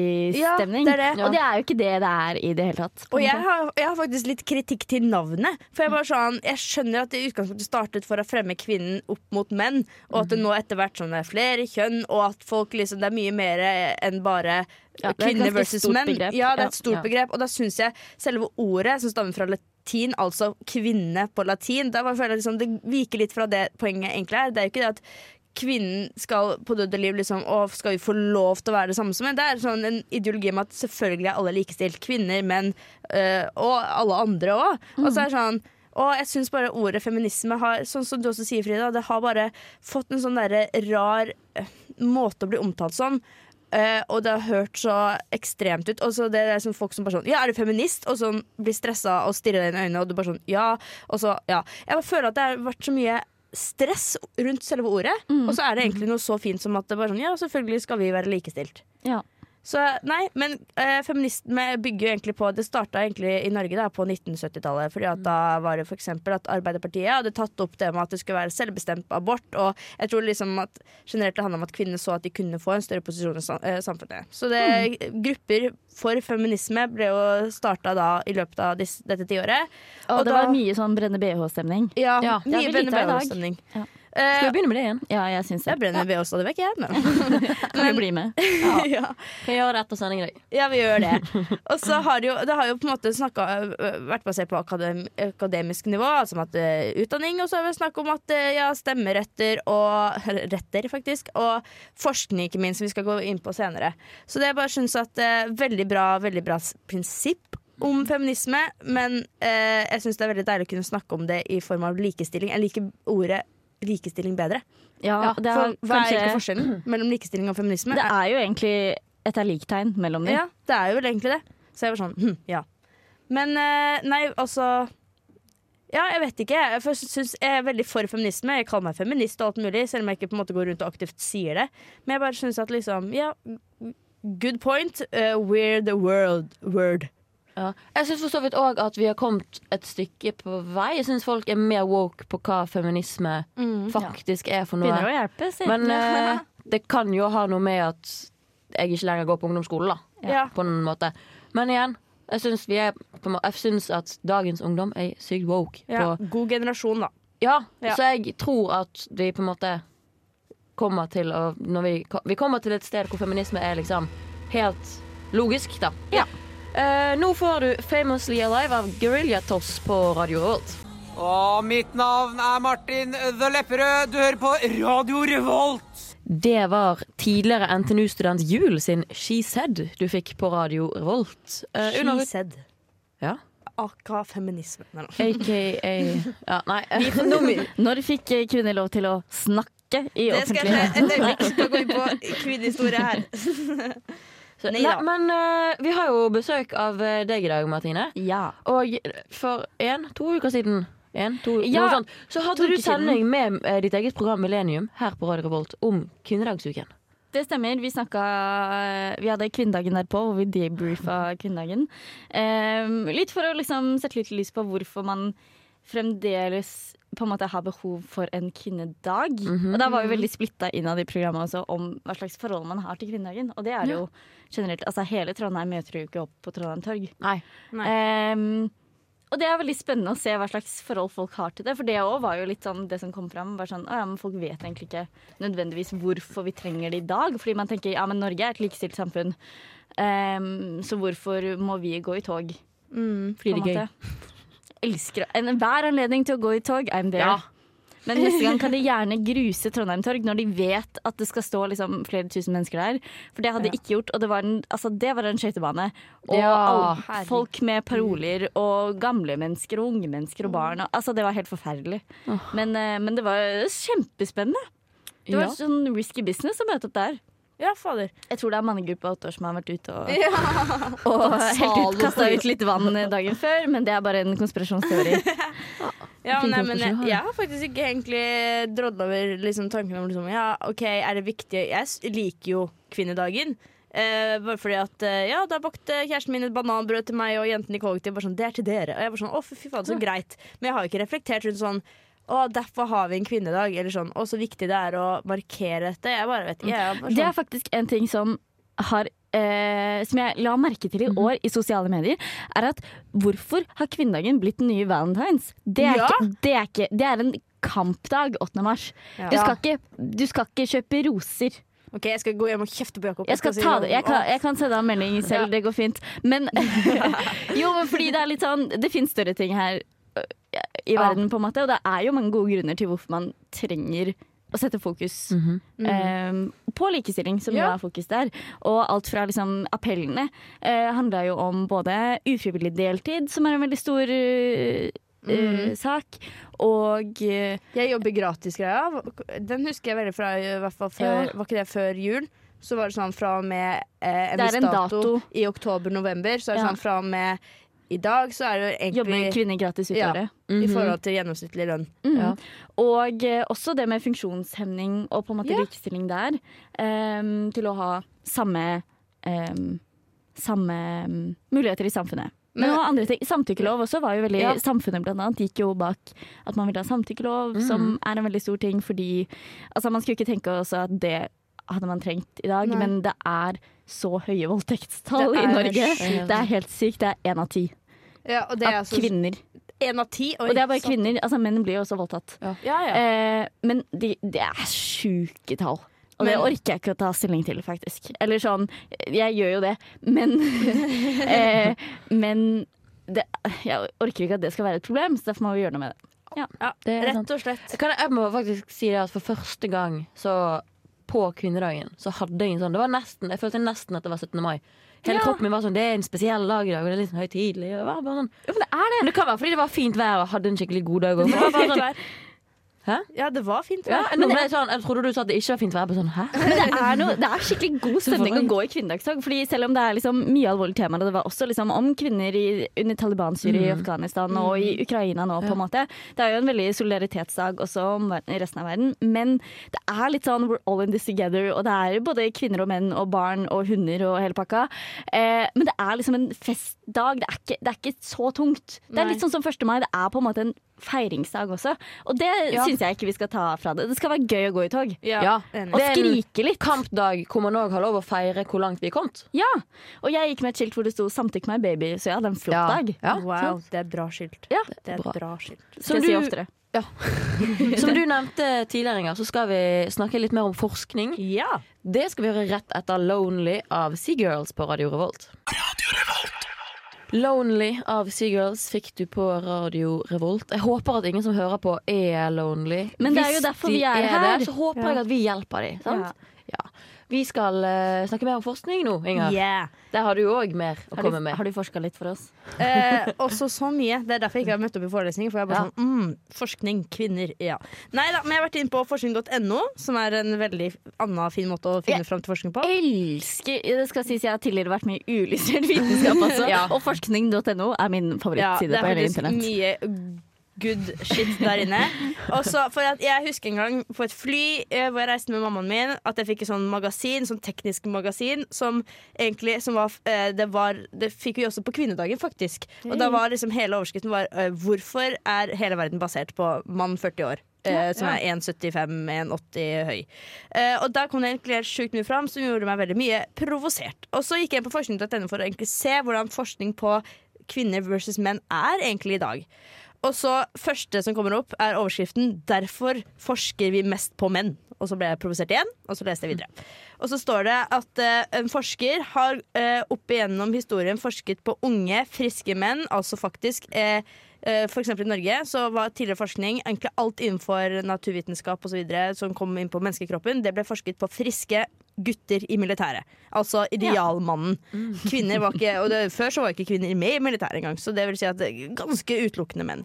Speaker 5: feminazi-stemning.
Speaker 4: Ja, det er det.
Speaker 5: Og det er jo ikke det det er i det hele tatt. på
Speaker 4: Og
Speaker 5: en
Speaker 4: jeg
Speaker 5: måte.
Speaker 4: har, jeg har faktisk litt kritikk til navnet. For Jeg bare sånn, jeg skjønner at det i utgangspunktet startet for å fremme kvinnen opp mot menn, og
Speaker 5: Mhm.
Speaker 4: at det nå etter hvert sånn er flere kjønn, og at folk liksom, det er mye mer enn bare
Speaker 5: Ja, det er et
Speaker 4: kvinner
Speaker 5: ganske
Speaker 4: versus
Speaker 5: stort
Speaker 4: menn.
Speaker 5: begrep.
Speaker 4: Ja, det
Speaker 5: Ja,
Speaker 4: er et
Speaker 5: ja.
Speaker 4: stort begrep. Og da syns jeg selve ordet som stammer fra latin, altså kvinne på latin, da bare føler jeg liksom, det viker litt fra det poenget egentlig er. Det er jo ikke det at kvinnen skal på død og liv liksom, å, skal vi få lov til å være det samme som menn? Det er sånn en ideologi om at selvfølgelig er alle likestilt. Kvinner, menn øh, og alle andre òg. Og så er det sånn og jeg syns bare ordet feminisme har sånn som du også sier, Frida, det har bare fått en sånn derre rar øh, måte å bli omtalt som. øh, og det har hørt så ekstremt ut. Og så det er sånn folk som bare sånn Ja, er du feminist? Og sånn blir stressa og stirrer deg inn i øynene, og du bare sånn Ja. Og så, ja. Jeg bare føler at det har vært så mye stress rundt selve ordet. Og så er det egentlig noe så fint som at det bare sånn, ja, selvfølgelig skal vi være likestilt.
Speaker 5: Ja.
Speaker 4: Så nei, men eh, feminisme bygger jo egentlig på Det starta egentlig i Norge da, på 1970-tallet. Fordi at da var det f.eks. at Arbeiderpartiet hadde tatt opp det med at det skulle være selvbestemt abort. Og jeg tror liksom at generelt det handla om at kvinner så at de kunne få en større posisjon i sam- eh, samfunnet. Så det, grupper for feminisme ble jo starta da i løpet av dis- dette tiåret.
Speaker 5: Og,
Speaker 4: Og
Speaker 5: det
Speaker 4: da-
Speaker 5: var mye sånn brenne bh-stemning.
Speaker 4: Ja,
Speaker 2: Ja.
Speaker 5: Ja,
Speaker 4: mye
Speaker 5: vi liker det i dag.
Speaker 4: BNB-stemning.
Speaker 5: Ja.
Speaker 4: Eh,
Speaker 2: Skal vi begynne med det igjen?
Speaker 5: Ja, jeg syns det.
Speaker 4: jeg brenner ved oss stadig vekk, jeg. Men.
Speaker 5: Kan vi bli med?
Speaker 4: ja.
Speaker 2: Kan jeg gjøre det etter sending i dag?
Speaker 4: Ja, vi gjør det. Og så har det jo, det har jo på en måte snakka, øh, vært basert på akadem, akademisk nivå, altså om at øh, utdanning, og så har vi snakk om at øh, ja, stemmeretter og retter, faktisk, og forskning, ikke minst, som vi skal gå inn på senere. Så det jeg bare syns at øh, veldig bra, veldig bra s- prinsipp om feminisme, men øh, jeg syns det er veldig deilig å kunne snakke om det i form av likestilling. Jeg liker ordet likestilling bedre.
Speaker 5: Ja,
Speaker 2: Ja,
Speaker 5: det er
Speaker 4: For hva er
Speaker 5: kanskje-
Speaker 4: egentlig forskjellen mellom likestilling og feminisme?
Speaker 5: Det er jo egentlig et erliktegn mellom dem.
Speaker 4: Ja, det er jo vel egentlig det. Så jeg var sånn, hm, ja. Men eh, nei, altså Ja, jeg vet ikke. Jeg, først synes jeg er veldig for feminisme. Jeg kaller meg feminist og alt mulig, selv om jeg ikke på en måte går rundt og aktivt sier det. Men jeg bare syns at liksom Ja, good point. eh, we're the world word.
Speaker 2: Ja. Jeg syns for så vidt òg at vi har kommet et stykke på vei. Jeg syns folk er mer woke på hva feminisme
Speaker 4: Mm,
Speaker 2: faktisk er for noe.
Speaker 5: Begynner å hjelpe, si.
Speaker 2: Men eh, det kan jo ha noe med at jeg ikke lenger går på ungdomsskole, da.
Speaker 4: Ja.
Speaker 2: På en måte. Men igjen, jeg syns, vi er, på en må- jeg syns at dagens ungdom er sykt woke.
Speaker 4: Ja.
Speaker 2: På,
Speaker 4: God generasjon, da.
Speaker 2: ja,
Speaker 4: Ja.
Speaker 2: Så jeg tror at vi på en måte kommer til å når vi, ko- vi kommer til et sted hvor feminisme er liksom helt logisk, da.
Speaker 5: Ja.
Speaker 2: Eh, nå får du 'Famously Alive' av Guerrilla Toss på Radio Revolt.
Speaker 6: Og mitt navn er Martin The Lepperød. Du hører på Radio Revolt.
Speaker 2: Det var tidligere NTNU-student Jul sin 'She Said' du fikk på Radio Revolt. Eh, under-
Speaker 4: She said.
Speaker 2: Ja.
Speaker 4: Aka feminisme. Nei, nei.
Speaker 2: AKA Ja, nei.
Speaker 5: Når fikk eh, kvinner lov til å snakke i
Speaker 4: Det skal jeg
Speaker 5: offentlighet?
Speaker 4: et øyeblikk. Da går vi på kvinnehistorie her.
Speaker 2: Så,
Speaker 4: Nei
Speaker 2: nei,
Speaker 4: da.
Speaker 2: men eh, vi har jo besøk av eh, deg i dag, Martine.
Speaker 5: Ja.
Speaker 2: Og for én, to uker siden en, to,
Speaker 5: Ja,
Speaker 2: noe sånt, Så
Speaker 5: to
Speaker 2: hadde du
Speaker 5: uker
Speaker 2: sending med eh, ditt eget program Millennium her på Radio Revolt om kvinnedagsuken.
Speaker 5: Det stemmer. Vi snakka Vi hadde kvinnedagen derpå, hvor vi debriefa kvinnedagen. Ehm, litt for å liksom sette litt lys på hvorfor man fremdeles på en måte har behov for en kvinnedag.
Speaker 4: Mhm.
Speaker 5: Og da var vi veldig splitta innad i programmet også om hva slags forhold man har til kvinnedagen. Og det er det jo generelt. Altså hele Trondheim møter jo ikke opp på Trondheim torg.
Speaker 2: Nei.
Speaker 5: Ehm, og det er veldig spennende å se hva slags forhold folk har til det. For det òg var jo litt sånn det som kom fram. Var sånn, «Å ja, men folk vet egentlig ikke nødvendigvis hvorfor vi trenger det i dag. Fordi man tenker ja, men Norge er et likestilt samfunn. Ehm, så hvorfor må vi gå i tog?
Speaker 2: Fordi det er gøy.
Speaker 5: Elsker å- enhver anledning til å gå i tog. I'm there.
Speaker 2: Ja.
Speaker 5: Men neste gang kan de gjerne gruse Trondheim Torg når de vet at det skal stå liksom flere tusen mennesker der. For det hadde de ikke gjort, og det var en, altså det var en skøytebane. Og
Speaker 2: Ja,
Speaker 5: all- folk med paroler, og gamle mennesker og unge mennesker og barn. Og, altså det var helt forferdelig. Men, eh, men det var kjempespennende. Det var
Speaker 2: Ja.
Speaker 5: sånn risky business å møte opp der.
Speaker 4: Ja, fader.
Speaker 5: Jeg tror det er mannegruppa åtte år som har vært ute og,
Speaker 4: Ja.
Speaker 5: og helt ut, kasta ut litt vann dagen før, men det er bare en konspirasjonsteori.
Speaker 4: Ja,
Speaker 2: Fin
Speaker 4: nei, men jeg,
Speaker 2: konklusjon, ja.
Speaker 4: jeg har faktisk ikke egentlig drodla over liksom, tanken om liksom, Ja, OK, er det viktig Jeg s- liker jo kvinnedagen. Eh, bare fordi at eh, Ja, da bakte kjæresten min et bananbrød til meg og jentene i kollektiv. Bare sånn, det er til dere. Og jeg bare sånn, å fy, fy faen, så greit. Men jeg har jo ikke reflektert rundt sånn å, derfor har vi en kvinnedag, eller sånn. Å, så viktig det er å markere dette. Jeg bare vet ikke. jeg er bare
Speaker 5: Mm. Det er
Speaker 4: sånn,
Speaker 5: faktisk en ting som har eh, som jeg la merke til i
Speaker 4: Mhm.
Speaker 5: år i sosiale medier, er at hvorfor har kvinnedagen blitt den nye valentines? Det er,
Speaker 4: Ja.
Speaker 5: ikke, det er, ikke, det er en kampdag 8. mars. Du,
Speaker 4: sånn, ja.
Speaker 5: skal ikke, du skal ikke kjøpe roser.
Speaker 4: OK, jeg skal gå hjem og kjefte på Jakob.
Speaker 5: Jeg skal
Speaker 4: si
Speaker 5: ta
Speaker 4: sånn,
Speaker 5: det. Jeg
Speaker 4: «Å,
Speaker 5: kan, jeg kan sende deg en melding selv, det går fint. Men jo, men fordi det er litt sånn Det finnes større ting her ø, i verden, på en måte. Og det er jo mange gode grunner til hvorfor man trenger å sette fokus eh, på likestilling, som jo
Speaker 4: Mhm. Ja.
Speaker 5: er fokus der. Og alt fra liksom appellene uh, handla jo om både ufrivillig deltid, som er en veldig stor ø, ø,
Speaker 4: Mhm.
Speaker 5: sak, og øh, ø,
Speaker 4: Jeg jobber gratis-greia. Den husker jeg veldig fra i hvert fall før,
Speaker 5: Ja.
Speaker 4: Var ikke det før jul? Så var det sånn fra og med eh, en
Speaker 5: Det er
Speaker 4: viss
Speaker 5: en
Speaker 4: dato,
Speaker 5: dato.
Speaker 4: i oktober-november. Så er det
Speaker 5: Ja.
Speaker 4: sånn fra og med i dag, så er det jo
Speaker 5: jobbe med
Speaker 4: egentlig
Speaker 5: kvinner gratis ut
Speaker 4: Ja.
Speaker 5: året.
Speaker 4: i
Speaker 5: Mhm.
Speaker 4: forhold til gjennomsnittlig lønn.
Speaker 5: Mm.
Speaker 2: Ja.
Speaker 5: Og eh, også det med funksjonshemning og på en måte
Speaker 4: Ja.
Speaker 5: likestilling der. em, til å ha samme em, Samme em, muligheter i samfunnet. Men,
Speaker 4: Men-
Speaker 5: og andre ting, Samtykkelov også var jo veldig
Speaker 4: Ja.
Speaker 5: Samfunnet blant annet gikk jo bak at man ville ha samtykkelov,
Speaker 4: Mm.
Speaker 5: som er en veldig stor ting fordi altså Man skulle ikke tenke også at det hadde man trengt i dag,
Speaker 4: Nei.
Speaker 5: men det er så høye voldtektstall i
Speaker 4: Det er
Speaker 5: Norge.
Speaker 4: sjukt.
Speaker 5: Det er helt sykt. Det er én av ti
Speaker 4: Ja, og det er
Speaker 5: av
Speaker 4: altså
Speaker 5: kvinner.
Speaker 4: én av ti. Oi,
Speaker 5: Og det er bare
Speaker 4: sant.
Speaker 5: kvinner. Altså, menn blir jo også voldtatt.
Speaker 4: Ja, ja.
Speaker 5: Eh, men det de er sjuke tall. Og det
Speaker 4: Men-
Speaker 5: orker jeg ikke å ta stilling til, faktisk. Eller sånn, jeg gjør jo det, men eh, Men det, jeg orker ikke at det skal være et problem, så derfor må vi gjøre noe med det.
Speaker 4: ja,
Speaker 2: det er sant.
Speaker 4: rett og slett.
Speaker 2: Eh, Kan jeg, jeg må faktisk si det at for første gang så på kvinnedagen så hadde jeg en sånn Det var nesten, jeg følte nesten at det var 17. mai. Hele
Speaker 5: Ja.
Speaker 2: kroppen min var sånn Det er en spesiell dag i dag, og det er litt sånn høytidelig. og Det, var bare sånn.
Speaker 5: men det er
Speaker 2: Men det kan være fordi det var fint vær og jeg hadde en skikkelig god dag. også, men det var bare sånn,
Speaker 4: Ja, det var fint.
Speaker 2: ja,
Speaker 4: vær.
Speaker 2: nå ble jeg sånn, jeg trodde du sa at det ikke var fint vær. Jeg ble sånn, hæ?
Speaker 5: det er, noe, det er skikkelig god stemning å gå i kvinnedagsdag. Fordi selv om det er liksom mye alvorlige temaer, og det var også liksom om kvinner i, under Taliban-styret
Speaker 2: Mm.
Speaker 5: i Afghanistan og i Ukraina nå, på en måte. Det er jo en veldig solidaritetsdag også om ver- resten av verden. Men det er litt sånn we're all in this together, og det er både kvinner og menn og barn og hunder og hele pakka. Eh, men det er liksom en festdag. Det er ikke, det er ikke så tungt. Det
Speaker 4: Nei.
Speaker 5: er litt sånn som 1. mai. Det er på en måte en feiringsdag også. Og det
Speaker 4: Ja.
Speaker 5: syns jeg ikke vi skal ta fra det. Det skal være gøy å gå i tog.
Speaker 2: Ja.
Speaker 4: enig.
Speaker 5: Og
Speaker 2: Det er en-
Speaker 5: skrike litt.
Speaker 2: Kampdag hvor man òg har lov å feire hvor langt vi er kommet.
Speaker 5: Ja, og jeg gikk med et skilt hvor det stod 'samtykk meg, baby', så jeg hadde en flott
Speaker 2: Ja.
Speaker 5: dag.
Speaker 2: Ja.
Speaker 4: Wow, det er bra skilt.
Speaker 5: Ja.
Speaker 4: Det er
Speaker 2: Bra.
Speaker 4: et bra skilt.
Speaker 5: Skal
Speaker 2: Som
Speaker 5: jeg si
Speaker 2: du-
Speaker 5: oftere.
Speaker 2: Som du nevnte tidligere, Inger, så skal vi snakke litt mer om forskning.
Speaker 4: Ja.
Speaker 2: Det skal vi gjøre rett etter 'Lonely' av Seagirls på Radio Revolt. Lonely av Seagirls fikk du på Radio Revolt. Jeg håper at ingen som hører på, er lonely.
Speaker 5: Men det er
Speaker 2: Hvis
Speaker 5: jo derfor
Speaker 2: de
Speaker 5: vi er her.
Speaker 2: Det, så håper jeg at vi hjelper dem. Sant? Ja. Vi skal eh, snakke mer om forskning nå, Inger.
Speaker 4: Yeah.
Speaker 2: Der har du òg mer å
Speaker 5: Har
Speaker 2: komme
Speaker 5: du,
Speaker 2: med.
Speaker 5: har du forska litt for oss?
Speaker 4: Eh, også så mye. Det er derfor jeg ikke har møtt opp i forelesning. For jeg er bare
Speaker 2: Ja.
Speaker 4: sånn, mm, forskning, kvinner, ja Neida, men jeg har vært inne på forskning.no, som er en veldig annen fin måte å finne fram til forskning på.
Speaker 5: Elsker Det skal sies jeg har tidligere vært med i ulyssert vitenskap også,
Speaker 2: Ja.
Speaker 5: og forskning.no er min
Speaker 4: Ja,
Speaker 5: favorittside
Speaker 4: det er
Speaker 5: på hele
Speaker 4: faktisk
Speaker 5: internett.
Speaker 4: mye good shit der inne. Også for at Jeg husker en gang på et fly eh, hvor jeg reiste med mammaen min, at jeg fikk et sånn magasin, sånn teknisk magasin, som egentlig som var, eh, det var Det fikk vi også på kvinnedagen, faktisk. Og da var liksom hele overskriften var eh, 'Hvorfor er hele verden basert på mann 40 år?' eh, som er 1,75-1,80 høy. Eh, og der kom det egentlig helt sjukt mye fram som gjorde meg veldig mye provosert. Og så gikk jeg inn på forskning.no for å egentlig se hvordan forskning på kvinner versus menn er egentlig i dag. Og så første som kommer opp er overskriften 'Derfor forsker vi mest på menn'. Og så ble jeg provosert igjen, og så leste jeg videre. Og så står det at eh, en forsker har eh, opp igjennom historien forsket på unge, friske menn, altså faktisk eh, eh, for eksempel i Norge så var tidligere forskning egentlig alt innenfor naturvitenskap og så videre, som kom inn på menneskekroppen, det ble forsket på friske gutter i militæret. Altså idealmannen. Kvinner var ikke, og det, Før så var ikke kvinner med i militæret engang, så det vil si at det er ganske utelukkende menn.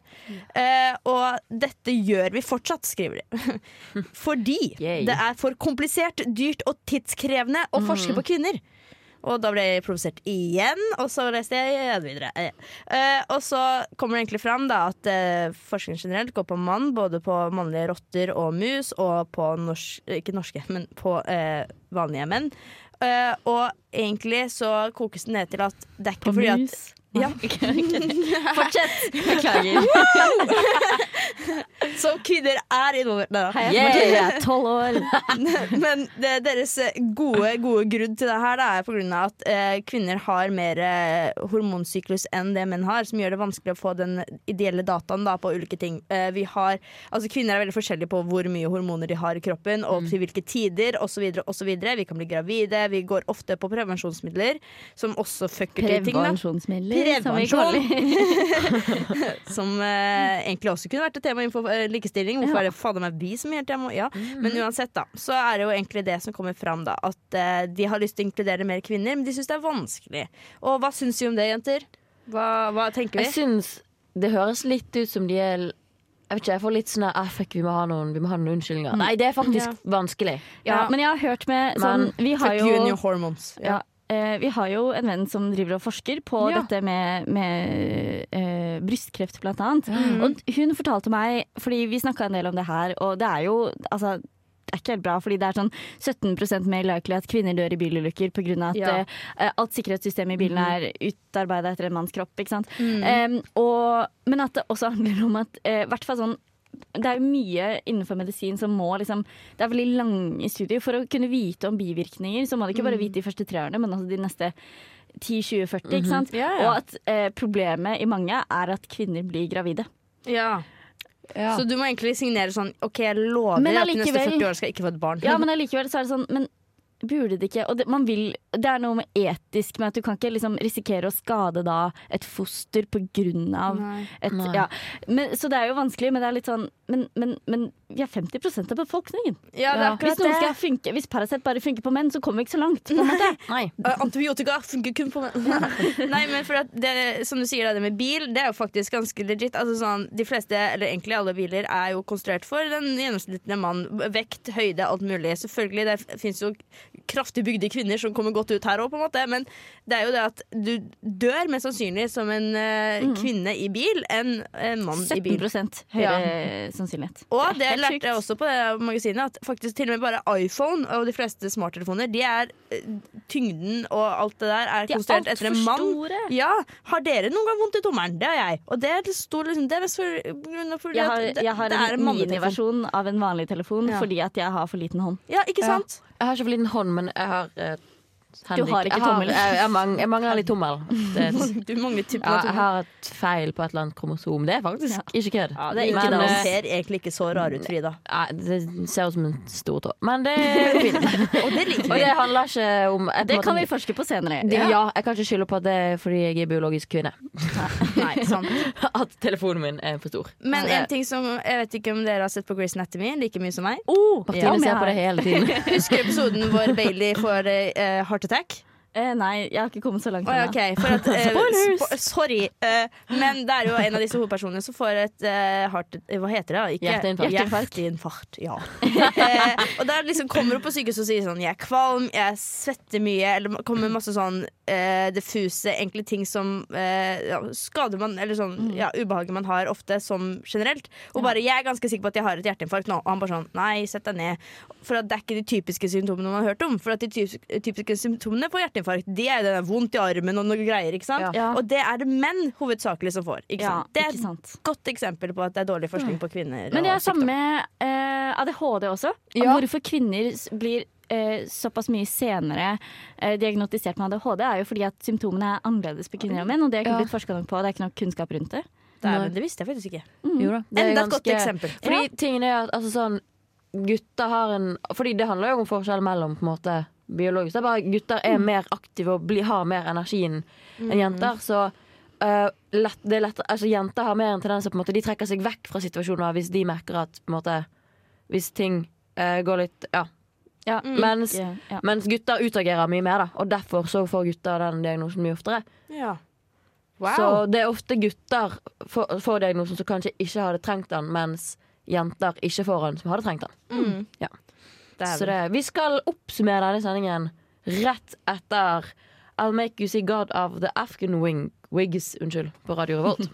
Speaker 4: Eh, og dette gjør vi fortsatt, skriver de. Fordi
Speaker 2: Yay.
Speaker 4: det er for komplisert, dyrt og tidskrevende å forske på kvinner. Og da ble jeg provosert igjen, og så leste jeg videre. Eh, eh, og så kommer det egentlig fram da, at eh, forskning generelt går på mann, både på mannlige rotter og mus, og på norsk, ikke norske, men på eh, vanlige menn. Eh, og egentlig så kokes det ned til at det er ikke fordi at Ja.
Speaker 5: Fortsett! Beklager.
Speaker 4: Som kvinner er involvert Nei da.
Speaker 5: Hei, jeg
Speaker 2: Yeah.
Speaker 5: er Mathilde, jeg er tolv år.
Speaker 4: Men det, deres gode, gode grunn til det her da, er pga. at eh, kvinner har mer eh, hormonsyklus enn det menn har, som gjør det vanskelig å få den ideelle dataen da, på ulike ting. Eh, vi har, altså, kvinner er veldig forskjellige på hvor mye hormoner de har i kroppen, og til hvilke tider osv. Vi kan bli gravide, vi går ofte på prevensjonsmidler, som også fucker til ting. Da.
Speaker 5: Prevensjonsmidler. som vi
Speaker 4: Prevensjon.
Speaker 5: kaller-
Speaker 4: Som eh, egentlig også kunne vært et tema innenfor eh, likestilling. Hvorfor er det fader meg vi som hele tida må Ja.
Speaker 5: Mhm.
Speaker 4: Men uansett, da, så er det jo egentlig det som kommer fram, da. At eh, de har lyst til å inkludere mer kvinner, men de syns det er vanskelig. Og hva syns vi om det, jenter? Hva, hva tenker
Speaker 2: Jeg
Speaker 4: vi?
Speaker 2: syns det høres litt ut som de er Jeg vet ikke, jeg får litt sånn her, ah, fuck, vi må ha noen, vi må ha noen
Speaker 5: Mm.
Speaker 2: unnskyldninger. Nei, det er faktisk vanskelig.
Speaker 5: Ja, men jeg har hørt med sånn Vi har
Speaker 4: Fuck you and
Speaker 5: jo
Speaker 4: your hormones.
Speaker 5: ja, eh, vi har jo en venn som driver og forsker på
Speaker 4: Ja.
Speaker 5: dette med, med eh, brystkreft, blant annet.
Speaker 4: Mm.
Speaker 5: Og hun fortalte meg, fordi vi snakka en del om det her, og det er jo altså, det er ikke helt bra, fordi det er sånn 17 mer likely at kvinner dør i bilulykker pga. at
Speaker 4: Ja. Mm.
Speaker 5: eh, alt sikkerhetssystemet i bilen er utarbeida etter en manns kropp. Ikke sant? Eh, og, men at det også handler om at eh, hvert fall sånn det er jo mye innenfor medisin som må liksom Det er veldig lange studier. For å kunne vite om bivirkninger, så må du ikke bare vite de første tre årene, men også de neste 10-20-40. ikke sant?
Speaker 4: Ja, ja.
Speaker 5: Og at eh, problemet i mange er at kvinner blir gravide.
Speaker 4: Ja.
Speaker 2: Ja.
Speaker 4: Så du må egentlig signere sånn OK, jeg lover
Speaker 5: Men
Speaker 4: at de neste
Speaker 5: allikevel-
Speaker 4: 40 årene skal jeg ikke få et barn.
Speaker 5: Ja, men allikevel så er det sånn Men burde det ikke Og det, man vil, det er noe med etisk med at du kan ikke liksom risikere å skade da et foster på grunn av
Speaker 4: Nei.
Speaker 5: et
Speaker 2: Nei.
Speaker 5: Ja. Men, så det er jo vanskelig, men det er litt sånn Men, men, men vi er 50 av befolkningen.
Speaker 4: ja, det er
Speaker 2: Ja.
Speaker 5: Hvis
Speaker 4: akkurat
Speaker 5: noen
Speaker 4: det.
Speaker 5: skal funke, hvis Paracet bare funker på menn, så kommer vi ikke så langt. På en måte.
Speaker 2: Nei.
Speaker 4: Eh, Antibiotika funker kun på menn. Nei, men for at det, som du sier, det med bil, det er jo faktisk ganske legit. Altså sånn, de fleste, eller egentlig alle biler, er jo konstruert for den gjennomsnittlige mann. Vekt, høyde, alt mulig. Selvfølgelig, det f- finnes jo kraftig bygde kvinner som kommer godt ut her òg, på en måte. Men det er jo det at du dør mest sannsynlig som en eh, kvinne i bil enn en mann Sånn i
Speaker 5: 17
Speaker 4: bil.
Speaker 5: høyere sannsynlighet.
Speaker 4: Og det
Speaker 5: helt
Speaker 4: lærte
Speaker 5: sjukt.
Speaker 4: jeg også på det magasinet, at faktisk til og med bare iPhone og de fleste smarttelefoner, de er eh, tyngden og alt det der er
Speaker 5: De er
Speaker 4: konstruert etter en
Speaker 5: altfor
Speaker 4: mann.
Speaker 5: store.
Speaker 4: Ja, Har dere noen gang vondt i tommelen? Det har jeg. Og det er, stor, liksom, det er mest for, grunn av- fordi
Speaker 5: Jeg har,
Speaker 4: at det,
Speaker 5: jeg har
Speaker 4: det er
Speaker 5: en
Speaker 4: en mannetelefon.
Speaker 5: miniversjon av en vanlig telefon
Speaker 4: Ja.
Speaker 5: fordi at jeg har for liten hånd.
Speaker 4: Ja, ikke sant?
Speaker 2: Jeg har ikke for liten hånd, men jeg har eh, handik-
Speaker 5: har ikke
Speaker 2: jeg
Speaker 5: tommel.
Speaker 2: Jeg, jeg, mang, jeg mangler litt tommel. Det, er et-
Speaker 4: Du mangler tuppen
Speaker 2: ja,
Speaker 4: av
Speaker 2: jeg
Speaker 4: tommelen.
Speaker 2: har et feil på et eller annet kromosom. Det er faktisk
Speaker 5: Ja.
Speaker 2: ikke kødd.
Speaker 4: Ja, det er ikke
Speaker 2: Men,
Speaker 4: det.
Speaker 2: eh,
Speaker 4: ser egentlig ikke så rar ut, Frida.
Speaker 2: Nei, det ser ut som en stor tå. Men det går fint.
Speaker 4: Og det liker
Speaker 2: Og
Speaker 4: vi.
Speaker 2: det handler ikke om jeg, på en
Speaker 5: Det
Speaker 2: måte-
Speaker 5: kan vi forske på senere.
Speaker 2: det, ja. jeg kan ikke skylde på at det er fordi jeg er biologisk kvinne.
Speaker 4: Nei, sant.
Speaker 2: At telefonen min er for stor.
Speaker 4: Men
Speaker 2: Det-
Speaker 4: en ting som jeg vet ikke om dere har sett på Grace Anatomy like mye som meg.
Speaker 5: Oh,
Speaker 2: Martine
Speaker 5: om jeg
Speaker 2: ser på
Speaker 5: har-
Speaker 2: det hele tiden.
Speaker 4: Husker du episoden hvor Bailey får eh, heart attack?
Speaker 5: Eh, nei, jeg har ikke kommet så langt
Speaker 4: Å ja,
Speaker 5: ennå.
Speaker 4: ok, for at, eh,
Speaker 5: Spoilers!
Speaker 4: spo sorry, eh, men det er jo en av disse hovedpersonene som får et eh, hardt eh, Hva heter det? da? Ikke,
Speaker 2: Hjerteinfarkt.
Speaker 4: Hjerteinfarkt, ja. eh, og der liksom kommer hun på sykehuset og sier sånn Jeg er kvalm, jeg svetter mye, eller kommer masse sånn eh, diffuse, enkle ting som eh, ja, skader man Eller sånn
Speaker 5: Mm.
Speaker 4: ja, ubehaget man har ofte, som generelt. Og bare 'Jeg er ganske sikker på at jeg har et hjerteinfarkt nå', og han bare sånn 'Nei, sett deg ned'. For at det er ikke de typiske symptomene man har hørt om. For at de typ- typiske symptomene på hjerteinfarkt Det er jo det der vondt i armen og noe greier. ikke sant?
Speaker 5: Ja.
Speaker 4: Og det er det menn hovedsakelig som får. Ikke
Speaker 5: Ja,
Speaker 4: sant? Det er
Speaker 5: ikke sant.
Speaker 4: et godt eksempel på at det er dårlig forskning på kvinner.
Speaker 2: Mm.
Speaker 5: Men det
Speaker 4: og
Speaker 5: er samme
Speaker 4: sykdom.
Speaker 5: med eh, ADHD også. Om Hvorfor kvinner s- blir eh, såpass mye senere eh, diagnotisert med ADHD, er jo fordi at symptomene er annerledes på kvinner og menn. Og det er ikke
Speaker 2: Ja.
Speaker 5: blitt forska nok på, det er ikke nok kunnskap rundt det.
Speaker 4: Det, er, men det visste jeg faktisk ikke.
Speaker 2: Mm. Jo da, det er
Speaker 4: Enda et godt
Speaker 2: ganske-
Speaker 4: eksempel.
Speaker 2: Fordi tingen er at altså, sånn, gutter har en Fordi det handler jo om forskjell mellom på en måte, biologisk.
Speaker 4: Mm.
Speaker 2: Det er bare Gutter er mer aktive og bli, har mer energien enn jenter. Så øh, lett, det er lett, altså Jenter har mer en tendens til å på en måte, De trekker seg vekk fra situasjoner hvis de merker at på en måte, Hvis ting eh, går litt Ja.
Speaker 5: Ja,
Speaker 4: Mm.
Speaker 2: Mens,
Speaker 5: Mm. ja, ja.
Speaker 2: mens gutter utagerer mye mer, da. Og derfor så får gutter den diagnosen mye oftere.
Speaker 4: Ja.
Speaker 2: Så
Speaker 4: Wow.
Speaker 2: det er ofte gutter får får diagnosen som kanskje ikke hadde trengt den, mens jenter ikke får den som hadde trengt den. Ja. Så det, vi skal oppsummere denne sendingen rett etter I'll Make You See God av The Afghan Wing, Wigs unnskyld, på Radio Revolt.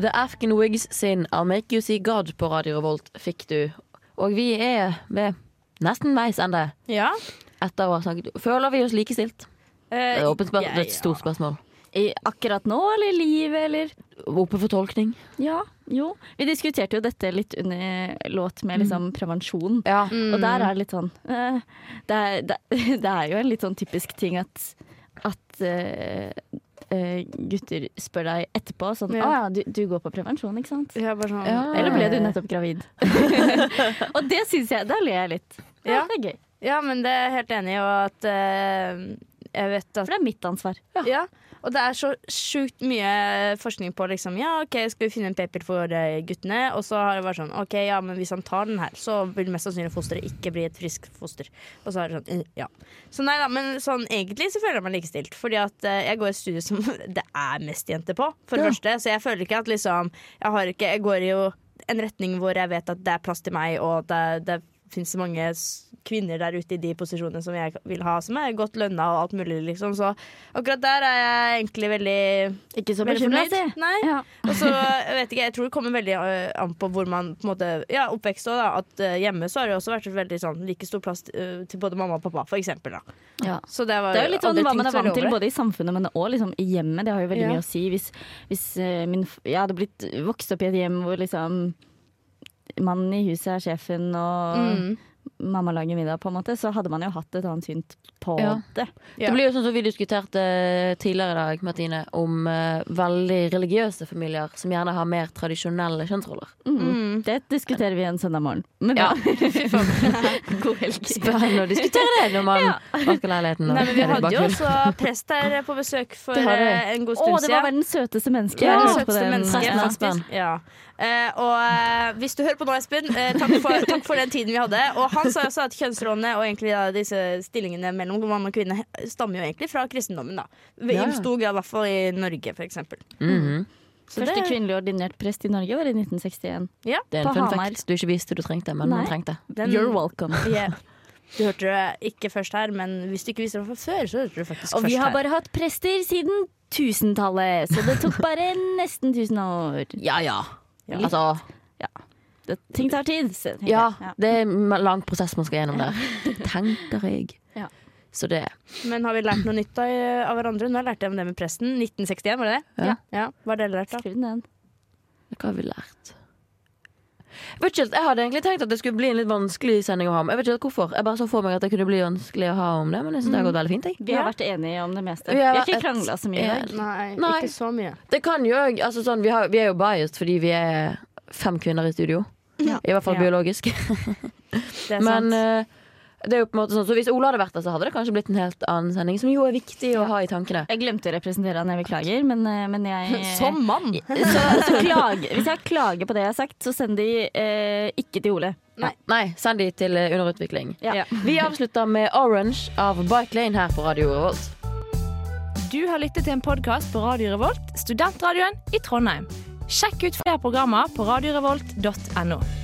Speaker 2: The Afghan Wigs sin I'll Make You See God på Radio Revolt fikk du. Og vi er ved nesten veis ende
Speaker 4: ja.
Speaker 2: etter å ha snakket. Føler vi oss likestilt? Det
Speaker 4: Eh,
Speaker 2: er åpent spør- det er et stort spørsmål.
Speaker 5: I akkurat nå, eller i livet, eller
Speaker 2: Oppe for tolkning.
Speaker 5: Ja, jo. Vi diskuterte jo dette litt under låt med liksom prevensjon.
Speaker 2: Ja.
Speaker 5: Og der er det litt sånn eh, det er, det, det er jo en litt sånn typisk ting at, at eh, eh, gutter spør deg etterpå sånn Å
Speaker 4: Ja.
Speaker 5: ja, du, du går på prevensjon, ikke sant?
Speaker 4: Ja, bare sånn.
Speaker 2: Ja.
Speaker 5: Eller ble du nettopp gravid? og det syns jeg Da ler jeg litt. Ja,
Speaker 4: Ja.
Speaker 5: Det er gøy.
Speaker 4: Ja, men det er jeg helt enig i, og at eh, Jeg vet at
Speaker 5: For det er mitt ansvar.
Speaker 4: Ja, og det er så sjukt mye forskning på liksom Ja, ok, skal vi finne en paper for eh, guttene? Og så har det vært sånn Ok, ja, men hvis han tar den her, så vil mest sannsynlig fosteret ikke bli et friskt foster. Og så er det sånn, eh, ja. Så nei da, men sånn egentlig så føler jeg meg likestilt. Fordi at eh, jeg går i et studie som det er mest jenter på, for det første. Så jeg føler ikke at liksom Jeg har ikke Jeg går jo en retning hvor jeg vet at det er plass til meg, og det, det finnes så mange s- kvinner der ute i de posisjonene som jeg vil ha, som er godt lønna og alt mulig, liksom. Så akkurat der er jeg egentlig veldig
Speaker 5: Ikke så
Speaker 4: Veldig
Speaker 5: bekymra, si.
Speaker 4: fornøyd? Nei.
Speaker 5: Ja.
Speaker 4: Og så jeg vet ikke, jeg tror det kommer veldig ø, an på hvor man på en måte Ja, oppvekst og da. At ø, hjemme så har det også vært veldig sånn like stor plass ø, til både mamma og pappa, for eksempel, da.
Speaker 5: Ja.
Speaker 4: Så det var
Speaker 5: Det er jo litt sånn
Speaker 4: aldri
Speaker 5: hva
Speaker 4: tenkt
Speaker 5: man er
Speaker 4: så veldig
Speaker 5: vant til
Speaker 4: over det.
Speaker 5: både i samfunnet, men også liksom i hjemmet. Det har jo veldig
Speaker 4: Ja.
Speaker 5: mye å si. Hvis, hvis eh, min, f- jeg hadde blitt vokst opp i et hjem hvor liksom mannen i huset er sjefen og
Speaker 4: Mm.
Speaker 5: mamma lager middag, på en måte, så hadde man jo hatt et annet syn på
Speaker 2: Ja.
Speaker 5: det.
Speaker 4: Ja.
Speaker 2: Det blir jo sånn som vi diskuterte tidligere i dag, Martine, om eh, veldig religiøse familier som gjerne har mer tradisjonelle kjønnsroller.
Speaker 5: Mm. Det diskuterer vi en søndag morgen. Men
Speaker 2: Ja.
Speaker 5: god helg.
Speaker 2: Spennende å diskutere det når man vasker leiligheten. og
Speaker 4: Nei, men Vi
Speaker 2: er litt
Speaker 4: hadde jo
Speaker 2: bakfull.
Speaker 4: også prest her på besøk for
Speaker 2: Det har vi.
Speaker 4: ø, en god
Speaker 5: Å,
Speaker 4: stund
Speaker 5: det
Speaker 4: siden.
Speaker 5: var verdens søteste menneske.
Speaker 4: Ja,
Speaker 5: Jeg
Speaker 4: det
Speaker 5: hørte på
Speaker 4: søteste
Speaker 5: den
Speaker 4: mennesket,
Speaker 2: Espen Espen.
Speaker 4: faktisk. Ja. Eh, og eh, hvis du hører på nå, Espen, eh, takk, for, takk for den tiden vi hadde. Og han sa også at kjønnsrollene og egentlig da, disse stillingene mellom mann og kvinne eh, stammer jo egentlig fra kristendommen, da. I
Speaker 2: Ja, ja.
Speaker 4: stor grad, i hvert fall i Norge, for eksempel.
Speaker 2: Mhm.
Speaker 5: Første
Speaker 4: det-
Speaker 5: kvinnelig ordinert prest i Norge var i 1961.
Speaker 2: Det er en
Speaker 5: På
Speaker 2: fun
Speaker 5: Hamar.
Speaker 2: fact du ikke visste du trengte, men
Speaker 5: Nei.
Speaker 2: du trengte.
Speaker 4: Den-
Speaker 5: You're welcome.
Speaker 4: Ja. Du hørte det ikke først her, men hvis du ikke visste det fra før, så hørte du faktisk
Speaker 5: Og vi
Speaker 4: først
Speaker 5: har
Speaker 4: her.
Speaker 5: bare hatt prester siden tusentallet, så det tok bare nesten tusen år.
Speaker 2: Ja ja.
Speaker 5: Ja.
Speaker 2: Altså,
Speaker 5: Det, ting tar tid. så tenker
Speaker 2: ja,
Speaker 5: jeg. Ja.
Speaker 2: det er en lang prosess man skal gjennom der. Det tenker jeg.
Speaker 5: Ja.
Speaker 2: Så det
Speaker 4: Men har vi lært noe nytt da, eh, av hverandre? Nå lærte jeg om det med presten. 1961, var det det?
Speaker 2: Ja.
Speaker 4: ja. Hva har dere lært, da?
Speaker 5: Skriv den ned.
Speaker 2: Hva har vi lært? Jeg vet ikke, helt, jeg hadde egentlig tenkt at det skulle bli en litt vanskelig sending å ha om. Jeg vet ikke helt hvorfor. Jeg bare så for meg at det kunne bli vanskelig å ha om det, men jeg synes det har gått veldig fint. Jeg.
Speaker 5: Vi har
Speaker 4: Ja.
Speaker 5: vært enige om det meste.
Speaker 2: Vi
Speaker 5: Vi
Speaker 2: har
Speaker 5: har eh, ikke
Speaker 2: vært-
Speaker 5: krangla så mye i dag.
Speaker 4: Nei,
Speaker 2: Nei.
Speaker 4: ikke så mye.
Speaker 2: Det kan jo òg altså sånn, vi, har- vi er jo biased fordi vi er fem kvinner i studio. I hvert fall
Speaker 4: Ja.
Speaker 2: biologisk.
Speaker 4: Det er
Speaker 2: Men
Speaker 4: sant.
Speaker 2: eh, det er jo på en måte sånn Så hvis Ola hadde vært der, så hadde det kanskje blitt en helt annen sending, som jo er viktig å ha i tankene.
Speaker 5: Jeg glemte å representere han, jeg beklager, men, eh, men jeg
Speaker 4: Som mann!
Speaker 5: Så, så klag, hvis jeg klager på det jeg har sagt, så send de eh, ikke til Ole.
Speaker 2: Nei, send de til eh, underutvikling.
Speaker 5: Ja.
Speaker 2: Vi avslutter med Orange av Bike Lane her på Radio Revolt.
Speaker 7: Du har lyttet til en podkast på Radio Revolt, studentradioen i Trondheim. Sjekk ut flere programmer på radiorevolt.no.